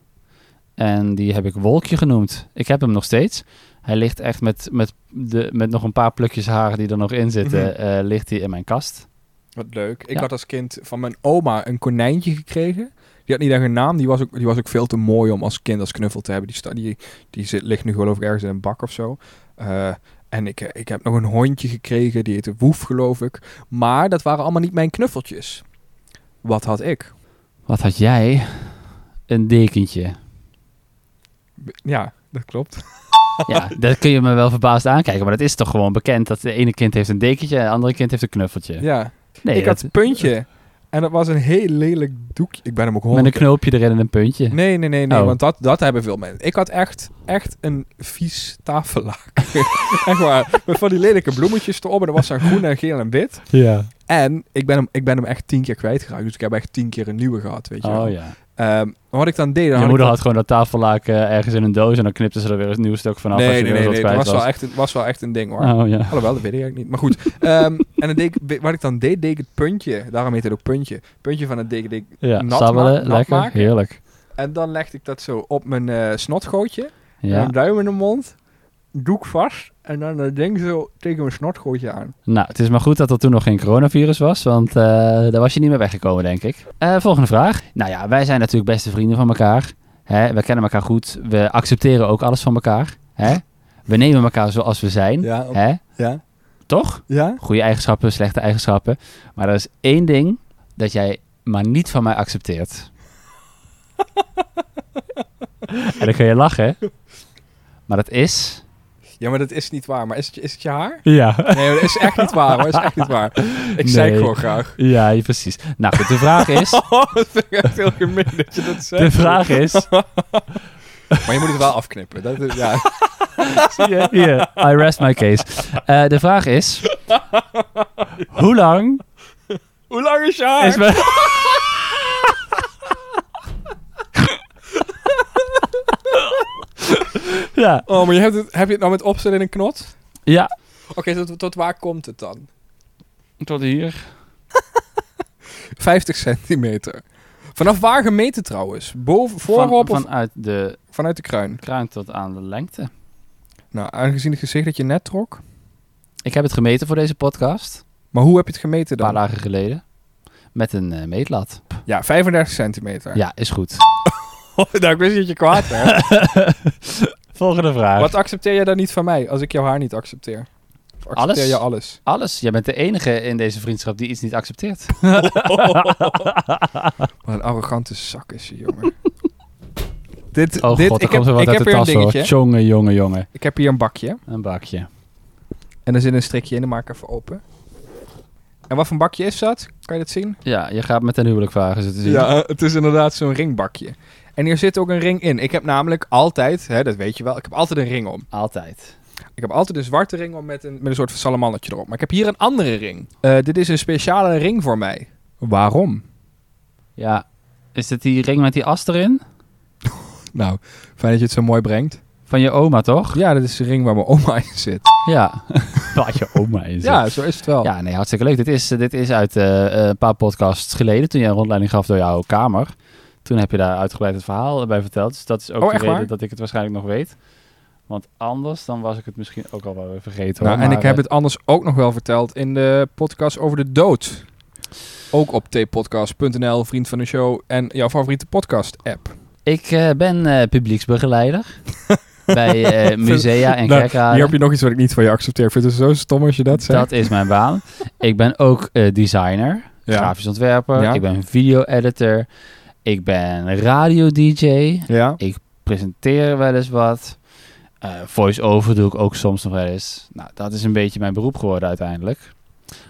Speaker 2: En die heb ik Wolkje genoemd. Ik heb hem nog steeds. Hij ligt echt met, met, de, met nog een paar plukjes haar die er nog in zitten,
Speaker 1: Mhm.
Speaker 2: eh, ligt hij in mijn kast.
Speaker 1: Wat leuk. Ik
Speaker 2: Ja.
Speaker 1: had als kind van mijn oma een konijntje gekregen. Die had niet echt een naam. Die was ook, die was ook veel te mooi om als kind als knuffel te hebben. Die, sta, die, die zit, ligt nu geloof ik ergens in een bak of zo. Eh, en ik, eh, ik heb nog een hondje gekregen. Die heette Woef geloof ik. Maar dat waren allemaal niet mijn knuffeltjes. Wat had ik?
Speaker 2: Wat had jij? Een dekentje.
Speaker 1: B- Ja, dat klopt.
Speaker 2: Ja, dat kun je me wel verbaasd aankijken, maar dat is toch gewoon bekend dat de ene kind heeft een dekentje en het andere kind heeft een knuffeltje.
Speaker 1: Ja.
Speaker 2: nee,
Speaker 1: ik
Speaker 2: dat-
Speaker 1: had een puntje. En dat was een heel lelijk doekje. Ik ben hem ook
Speaker 2: met
Speaker 1: honderd
Speaker 2: een knoopje erin en een puntje.
Speaker 1: Nee, nee, nee, nee.
Speaker 2: Oh.
Speaker 1: Want dat, dat hebben veel mensen. Ik had echt, echt een vies tafellaken. echt waar. Met van die lelijke bloemetjes erop. En er was dan groen en geel en wit.
Speaker 2: Ja.
Speaker 1: En ik ben hem, ik ben hem echt tien keer kwijtgeraakt. Dus ik heb echt tien keer een nieuwe gehad, weet je wel.
Speaker 2: Oh ja.
Speaker 1: Ehm, maar wat ik dan deed... Dan
Speaker 2: Je
Speaker 1: had
Speaker 2: moeder
Speaker 1: ik
Speaker 2: had gewoon dat tafellaken ergens in een doos en dan knipte ze er weer een nieuw stuk vanaf
Speaker 1: dat...
Speaker 2: als
Speaker 1: Nee,
Speaker 2: je
Speaker 1: nee,
Speaker 2: weer
Speaker 1: nee. nee. Dat
Speaker 2: wat kwijt
Speaker 1: was
Speaker 2: was.
Speaker 1: wel, echt een, was wel echt een ding, hoor.
Speaker 2: Oh ja.
Speaker 1: Alhoewel, dat weet ik eigenlijk niet. Maar goed. Ehm, en dan deed ik, weet- wat ik dan deed, deed ik het puntje. Daarom heet het ook puntje. Puntje van het deken. deed ik-
Speaker 2: Ja,
Speaker 1: Nat
Speaker 2: sabbelen,
Speaker 1: ma- nat
Speaker 2: lekker,
Speaker 1: maken.
Speaker 2: heerlijk.
Speaker 1: En dan legde ik dat zo op mijn eh, snotgootje.
Speaker 2: Ja.
Speaker 1: Mijn duim in de mond, doek vast en dan dat ding zo tegen mijn snotgootje aan.
Speaker 2: Nou, het is maar goed dat er toen nog geen coronavirus was, want eh, daar was je niet meer weggekomen, denk ik. Eh, volgende vraag. Nou ja, wij zijn natuurlijk beste vrienden van elkaar. Hè? We kennen elkaar goed. We accepteren ook alles van elkaar. Hè? We nemen elkaar zoals we zijn.
Speaker 1: Ja,
Speaker 2: Hè?
Speaker 1: ja.
Speaker 2: Toch?
Speaker 1: Ja?
Speaker 2: Goede eigenschappen, slechte eigenschappen. Maar er is één ding dat jij maar niet van mij accepteert. en dan kun je lachen, hè? Maar dat is...
Speaker 1: Ja, maar dat is niet waar. Maar is het, je- is het je haar?
Speaker 2: Ja.
Speaker 1: Nee, dat is echt niet waar hoor. Dat is echt niet waar. Ik zei het
Speaker 2: Nee.
Speaker 1: gewoon graag.
Speaker 2: Ja, ja, precies. Nou goed, de vraag is...
Speaker 1: Oh, dat vind ik echt heel gemeen dat je dat zegt.
Speaker 2: De vraag is...
Speaker 1: Maar je moet het wel afknippen. Dat is, ja.
Speaker 2: Zie je? Hier, I rest my case. Eh, de vraag is... Hoe lang
Speaker 1: Hoe lang is je haar?
Speaker 2: is mijn... ja,
Speaker 1: Oh, maar je hebt het, heb je het nou met opzet in een knot?
Speaker 2: ja.
Speaker 1: Oké, tot, tot waar komt het dan?
Speaker 2: Tot hier.
Speaker 1: 50 centimeter. Vanaf waar gemeten trouwens? Boven,
Speaker 2: Van,
Speaker 1: voorop of
Speaker 2: vanuit de
Speaker 1: vanuit de kruin?
Speaker 2: kruin tot aan de lengte.
Speaker 1: Nou, aangezien het gezicht dat je net trok.
Speaker 2: Ik heb het gemeten voor deze podcast.
Speaker 1: Maar hoe heb je het gemeten
Speaker 2: Een paar
Speaker 1: dan?
Speaker 2: dagen geleden. Met een eh, meetlat.
Speaker 1: Ja, 35 centimeter.
Speaker 2: Ja, is goed.
Speaker 1: nou, ik wist dat je kwaad werd.
Speaker 2: Volgende vraag.
Speaker 1: Wat accepteer je dan niet van mij als ik jouw haar niet accepteer? Of accepteer
Speaker 2: Alles?
Speaker 1: je alles?
Speaker 2: Alles. Jij bent de enige in deze vriendschap die iets niet accepteert. Oh.
Speaker 1: Wat een arrogante zak is je, jongen. dit,
Speaker 2: Oh
Speaker 1: dit,
Speaker 2: god,
Speaker 1: ik
Speaker 2: er komt
Speaker 1: heb,
Speaker 2: er wat
Speaker 1: ik
Speaker 2: uit
Speaker 1: heb
Speaker 2: de
Speaker 1: hier een
Speaker 2: tas hoor.
Speaker 1: dingetje.
Speaker 2: Jongen, jongen, jongen.
Speaker 1: Ik heb hier een bakje.
Speaker 2: Een bakje.
Speaker 1: En er zit een strikje in, dan maak ik even open. En wat voor bakje is dat? Kan je dat zien?
Speaker 2: Ja, je gaat met een huwelijk vragen. Zo te zien.
Speaker 1: Ja, eh, het is inderdaad zo'n ringbakje. En hier zit ook een ring in. Ik heb namelijk altijd, hè, dat weet je wel, ik heb altijd een ring om.
Speaker 2: Altijd.
Speaker 1: Ik heb altijd een zwarte ring om met een, met een soort van salamannetje erop. Maar ik heb hier een andere ring. Eh, dit is een speciale ring voor mij. Waarom?
Speaker 2: Ja. Is dit die ring met die as erin?
Speaker 1: Nou, fijn dat je het zo mooi brengt.
Speaker 2: Van je oma, toch?
Speaker 1: Ja, dat is de ring waar mijn oma in zit.
Speaker 2: Ja. Waar je oma is.
Speaker 1: Ja, zo is het wel. Nou,
Speaker 2: Ja, nee, hartstikke leuk. Dit is, eh, dit is uit eh, eh, een paar podcasts geleden, toen jij een rondleiding gaf door jouw kamer. Toen heb je daar uitgebreid het verhaal bij verteld. Dus dat is ook
Speaker 1: Oh,
Speaker 2: de
Speaker 1: echt
Speaker 2: reden
Speaker 1: waar?
Speaker 2: dat ik het waarschijnlijk nog weet. Want anders dan was ik het misschien ook al wel weer vergeten.
Speaker 1: nou,
Speaker 2: hoor.
Speaker 1: en
Speaker 2: Maar,
Speaker 1: ik heb
Speaker 2: eh,
Speaker 1: het anders ook nog wel verteld in de podcast over de dood. Ook op tpodcast.nl, vriend van de show en jouw favoriete podcast-app.
Speaker 2: Ik eh, ben eh, publieksbegeleider bij eh, musea en
Speaker 1: Nou,
Speaker 2: kerkraden.
Speaker 1: Hier heb je nog iets wat ik niet van je accepteer. Ik vind het zo stom als je dat zegt.
Speaker 2: Dat is mijn baan. ik ben ook eh, designer,
Speaker 1: Ja.
Speaker 2: grafisch ontwerper.
Speaker 1: Ja.
Speaker 2: Ik ben video-editor. Ik ben radio-dj.
Speaker 1: Ja.
Speaker 2: presenteren wel eens wat. Eh, Voice-over doe ik ook soms nog wel eens. Nou, dat is een beetje mijn beroep geworden uiteindelijk.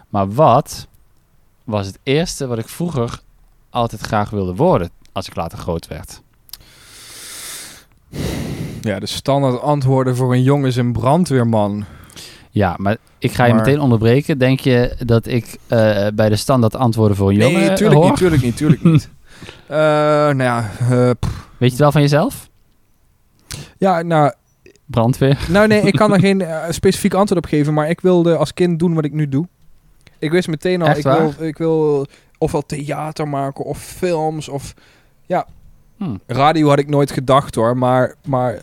Speaker 2: Maar wat was het eerste wat ik vroeger altijd graag wilde worden als ik later groot werd?
Speaker 1: Ja, de standaard antwoorden voor een jongen is een brandweerman.
Speaker 2: Ja, maar ik ga je
Speaker 1: Maar-
Speaker 2: meteen onderbreken. Denk je dat ik eh, bij de standaard antwoorden voor een jongen
Speaker 1: nee,
Speaker 2: eh,
Speaker 1: tuurlijk
Speaker 2: hoor?
Speaker 1: niet, tuurlijk niet, tuurlijk niet. Eh, nou ja, eh, pff.
Speaker 2: Weet je het wel van jezelf?
Speaker 1: ja nou,
Speaker 2: Brandweer?
Speaker 1: nou nee, ik kan daar geen eh, specifiek antwoord op geven, maar ik wilde als kind doen wat ik nu doe. Ik wist meteen al,
Speaker 2: Echt
Speaker 1: ik
Speaker 2: waar?
Speaker 1: wil, ik wil ofwel theater maken of films of ja,
Speaker 2: Hmm.
Speaker 1: radio had ik nooit gedacht hoor, maar, maar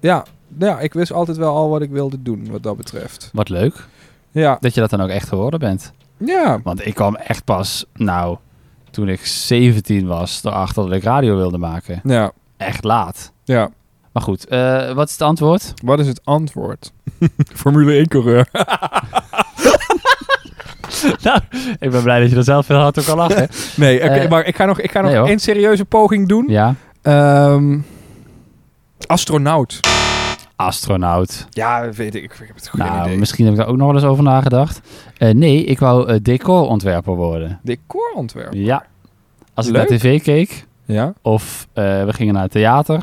Speaker 1: ja, ja, ik wist altijd wel al wat ik wilde doen wat dat betreft.
Speaker 2: Wat leuk
Speaker 1: Ja,
Speaker 2: dat je dat dan ook echt geworden bent.
Speaker 1: ja,
Speaker 2: Want ik kwam echt pas, nou, toen ik 17 was, erachter dat ik radio wilde maken.
Speaker 1: ja,
Speaker 2: Echt laat.
Speaker 1: ja.
Speaker 2: Maar goed, eh, wat is het antwoord?
Speaker 1: Wat is het antwoord? Formule 1-coureur.
Speaker 2: Nou, Ik ben blij dat je er zelf heel hard op kan lachen.
Speaker 1: Nee, oké,
Speaker 2: Eh,
Speaker 1: maar ik ga nog, ik ga nog
Speaker 2: nee, hoor.
Speaker 1: één serieuze poging doen.
Speaker 2: ja,
Speaker 1: Ehm, astronaut.
Speaker 2: astronaut.
Speaker 1: Ja, weet ik. Ik heb het geen
Speaker 2: nou,
Speaker 1: idee.
Speaker 2: misschien heb ik daar ook nog wel eens over nagedacht. Eh, nee, ik wou eh, decorontwerper worden.
Speaker 1: Decorontwerp.
Speaker 2: Ja. Als ik
Speaker 1: Leuk.
Speaker 2: naar tv keek
Speaker 1: Ja.
Speaker 2: of eh, we gingen naar het theater,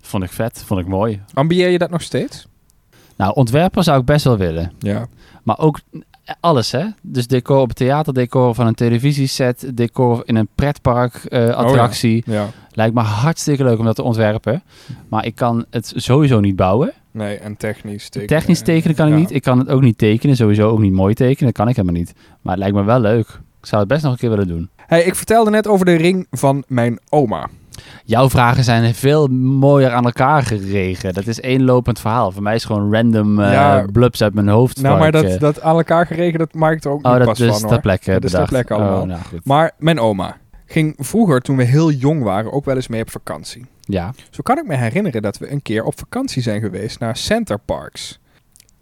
Speaker 2: vond ik vet, vond ik mooi.
Speaker 1: Ambieer je dat nog steeds?
Speaker 2: Nou, ontwerper zou ik best wel willen.
Speaker 1: Ja.
Speaker 2: Maar ook alles, hè? Dus decor op het theater, decor van een televisieset, decor in een pretpark,
Speaker 1: Oh
Speaker 2: eh, attractie.
Speaker 1: Ja.
Speaker 2: Lijkt me hartstikke leuk om dat te ontwerpen. Maar ik kan het sowieso niet bouwen.
Speaker 1: Nee, en technisch tekenen.
Speaker 2: Technisch tekenen kan ik
Speaker 1: Ja.
Speaker 2: niet. Ik kan het ook niet tekenen. Sowieso ook niet mooi tekenen. Dat kan ik helemaal niet. Maar het lijkt me wel leuk. Ik zou het best nog een keer willen doen.
Speaker 1: Hey, ik vertelde net over de ring van mijn oma.
Speaker 2: Jouw vragen zijn veel mooier aan elkaar geregen. Dat is één lopend verhaal. Voor mij is gewoon random eh,
Speaker 1: Ja.
Speaker 2: blubs uit mijn hoofd.
Speaker 1: Nou,
Speaker 2: waar
Speaker 1: maar
Speaker 2: ik,
Speaker 1: dat,
Speaker 2: eh,
Speaker 1: dat aan elkaar geregeld, dat maakt er ook
Speaker 2: oh,
Speaker 1: niet
Speaker 2: dat
Speaker 1: pas
Speaker 2: is
Speaker 1: van,
Speaker 2: ter
Speaker 1: hoor.
Speaker 2: plekke
Speaker 1: Dat is ter
Speaker 2: bedacht.
Speaker 1: plekke allemaal.
Speaker 2: Oh, nou, goed.
Speaker 1: Maar mijn oma ging vroeger, toen we heel jong waren, ook wel eens mee op vakantie.
Speaker 2: ja.
Speaker 1: Zo kan ik me herinneren dat we een keer op vakantie zijn geweest naar Center Parks.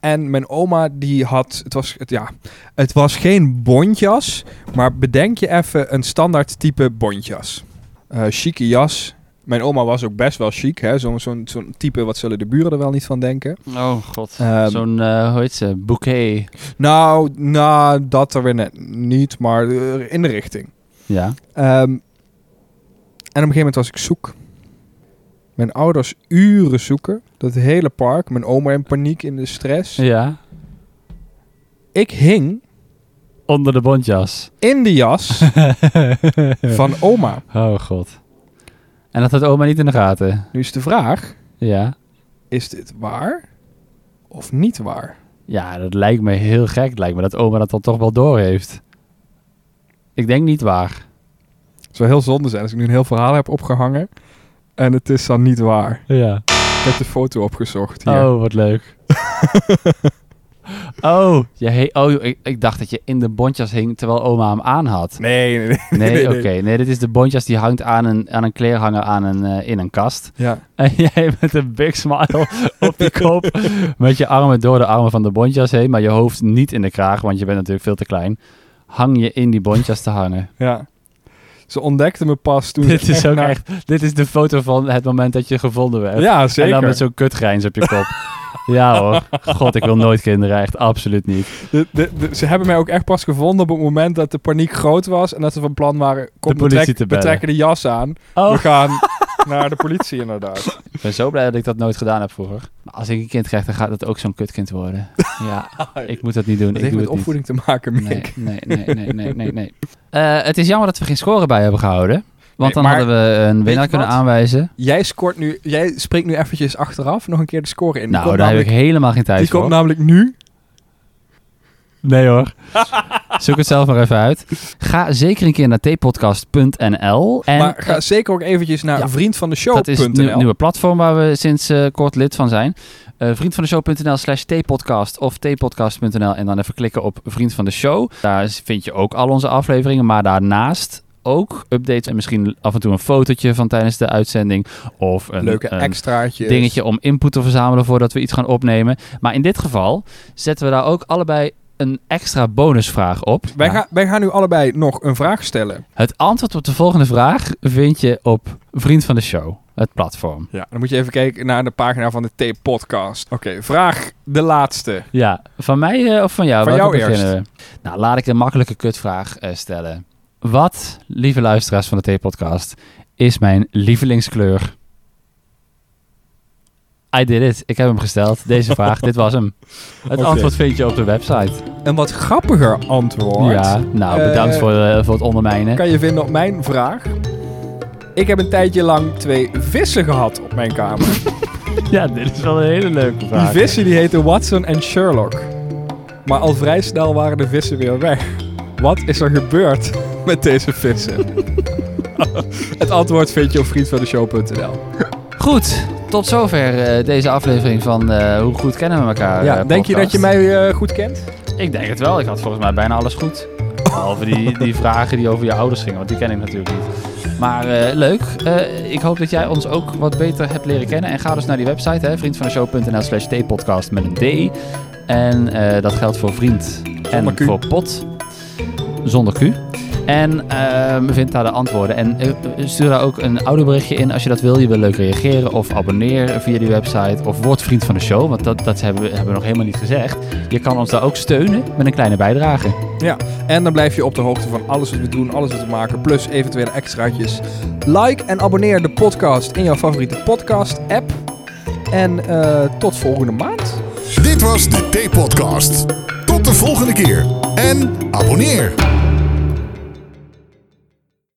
Speaker 1: En mijn oma die had, het was, het, ja, het was geen bontjas, maar bedenk je even een standaard type bontjas. Eh chique jas. Mijn oma was ook best wel chic, hè. Zo'n zo'n zo'n type, wat zullen de buren er wel niet van denken.
Speaker 2: Oh god.
Speaker 1: Ehm,
Speaker 2: Zo'n, eh, hoe heet ze? Bouquet.
Speaker 1: Nou, nou, dat er weer net niet, maar eh, in de richting.
Speaker 2: Ja.
Speaker 1: Ehm, en op een gegeven moment was ik zoek. Mijn ouders uren zoeken. Dat hele park. Mijn oma in paniek, in de stress.
Speaker 2: Ja.
Speaker 1: Ik hing
Speaker 2: Onder de bontjas.
Speaker 1: in de jas van oma.
Speaker 2: Oh god. En dat had oma niet in de gaten.
Speaker 1: Nu is de vraag,
Speaker 2: Ja.
Speaker 1: is dit waar of niet waar?
Speaker 2: Ja, dat lijkt me heel gek. Het lijkt me dat oma dat dan toch wel door heeft. Ik denk niet waar.
Speaker 1: Het zou heel zonde zijn als ik nu een heel verhaal heb opgehangen. En het is dan niet waar.
Speaker 2: Ja.
Speaker 1: Ik heb de foto opgezocht hier.
Speaker 2: Oh, wat leuk. oh, je he- oh joh, ik, ik dacht dat je in de bontjas hing terwijl oma hem aan had.
Speaker 1: Nee, nee, nee.
Speaker 2: Nee,
Speaker 1: nee,
Speaker 2: oké.
Speaker 1: nee.
Speaker 2: Nee, dit is de bontjas die hangt aan een, aan een kleerhanger aan een, eh, in een kast.
Speaker 1: Ja.
Speaker 2: En jij met een big smile op je kop. Met je armen door de armen van de bontjas heen, maar je hoofd niet in de kraag, want je bent natuurlijk veel te klein. Hang je in die bontjas te hangen.
Speaker 1: ja. Ze ontdekte me pas toen
Speaker 2: Dit
Speaker 1: ze
Speaker 2: is ook
Speaker 1: naar-
Speaker 2: echt. Dit is de foto van het moment dat je gevonden werd.
Speaker 1: Ja, zeker.
Speaker 2: En dan met zo'n kutgrijns op je kop. ja hoor. God, ik wil nooit kinderen. Echt absoluut niet.
Speaker 1: De- de- de- ze hebben mij ook echt pas gevonden op het moment dat de paniek groot was en dat ze van plan waren, kom,
Speaker 2: De politie
Speaker 1: we, trek-
Speaker 2: te
Speaker 1: we
Speaker 2: bellen.
Speaker 1: trekken de jas aan, we
Speaker 2: Oh.
Speaker 1: gaan naar de politie inderdaad.
Speaker 2: Ik ben zo blij dat ik dat nooit gedaan heb vroeger. Maar als ik een kind krijg, dan gaat dat ook zo'n kutkind worden. Ja, ik moet dat niet doen.
Speaker 1: Dat heeft
Speaker 2: ik doe
Speaker 1: met
Speaker 2: het niet.
Speaker 1: opvoeding te maken, Mick.
Speaker 2: Nee, nee, nee, nee, nee, nee. nee. Eh, het is jammer dat we geen score bij hebben gehouden. Want
Speaker 1: Nee,
Speaker 2: dan
Speaker 1: maar-
Speaker 2: hadden we een winnaar
Speaker 1: je
Speaker 2: kunnen
Speaker 1: wat?
Speaker 2: aanwijzen.
Speaker 1: Jij scoort nu, jij spreekt nu eventjes achteraf nog een keer de score in. Die
Speaker 2: Nou,
Speaker 1: komt
Speaker 2: daar heb ik
Speaker 1: namelijk-
Speaker 2: helemaal geen tijd
Speaker 1: Die
Speaker 2: voor.
Speaker 1: komt namelijk nu.
Speaker 2: Nee hoor. Zoek het zelf maar even uit. Ga zeker een keer naar tpodcast.nl. En
Speaker 1: maar ga zeker ook eventjes naar
Speaker 2: Ja. dat is
Speaker 1: vriendvandeshow.nl.
Speaker 2: het nieuw- nieuwe platform waar we sinds eh, kort lid van zijn. Eh vriendvandeshow.nl slash tpodcast of tpodcast.nl en dan even klikken op Vriend van de Show. Daar is- vind je ook al onze afleveringen, maar daarnaast ook updates en misschien af en toe een fotootje van tijdens de uitzending. Of een,
Speaker 1: Leuke
Speaker 2: een
Speaker 1: extraatjes.
Speaker 2: dingetje om input te verzamelen voordat we iets gaan opnemen. Maar in dit geval zetten we daar ook allebei een extra bonusvraag op.
Speaker 1: Wij,
Speaker 2: Ja.
Speaker 1: gaan, wij gaan nu allebei nog een vraag stellen.
Speaker 2: Het antwoord op de volgende vraag vind je op Vriend van de Show, het platform.
Speaker 1: Ja. Dan moet je even kijken naar de pagina van de T-podcast. Oké, vraag de laatste.
Speaker 2: Ja, van mij eh, of van jou?
Speaker 1: Van
Speaker 2: Welke
Speaker 1: jou
Speaker 2: beginnen we? Nou, laat ik een makkelijke kutvraag eh, stellen. Wat, lieve luisteraars van de T-podcast, is mijn lievelingskleur? I did it. Ik heb hem gesteld. Deze vraag, dit was hem. Het
Speaker 1: Oké.
Speaker 2: antwoord vind je op de website.
Speaker 1: Een wat grappiger antwoord.
Speaker 2: Ja, nou, bedankt
Speaker 1: Eh,
Speaker 2: voor, eh, voor het ondermijnen.
Speaker 1: kan je vinden op mijn vraag. Ik heb een tijdje lang twee vissen gehad op mijn kamer.
Speaker 2: Ja, dit is wel een hele leuke
Speaker 1: Die
Speaker 2: vraag.
Speaker 1: vissen die heten Watson en Sherlock. Maar al vrij snel waren de vissen weer weg. Wat is er gebeurd met deze vissen? Het antwoord vind je op vriendvandeshow.nl.
Speaker 2: Goed, tot zover eh, deze aflevering van eh, Hoe Goed Kennen We Elkaar?
Speaker 1: Ja,
Speaker 2: eh,
Speaker 1: denk je dat
Speaker 2: podcast.
Speaker 1: je mij eh, goed kent?
Speaker 2: Ik denk het wel. Ik had volgens mij bijna alles goed. Behalve die, die vragen die over je ouders gingen, want die ken ik natuurlijk niet. Maar eh, leuk. Eh, ik hoop dat jij ons ook wat beter hebt leren kennen. En ga dus naar die website, hè, vriendvandeshow.nl slash tpodcast met een d. En eh, dat geldt voor vriend
Speaker 1: Zonder
Speaker 2: en
Speaker 1: Q.
Speaker 2: voor pot. Zonder Q. En ehm, vind daar de antwoorden. En eh, stuur daar ook een audioberichtje in als je dat wil. Je wil leuk reageren of abonneer via die website. Of word vriend van de show, want dat, dat hebben, we, hebben we nog helemaal niet gezegd. Je kan ons daar ook steunen met een kleine bijdrage.
Speaker 1: En dan blijf je op de hoogte van alles wat we doen, alles wat we maken, plus eventuele extraatjes. Like en abonneer de podcast in jouw favoriete podcast-app. En eh, tot volgende maand.
Speaker 3: Dit was de T-podcast. Tot de volgende keer en abonneer.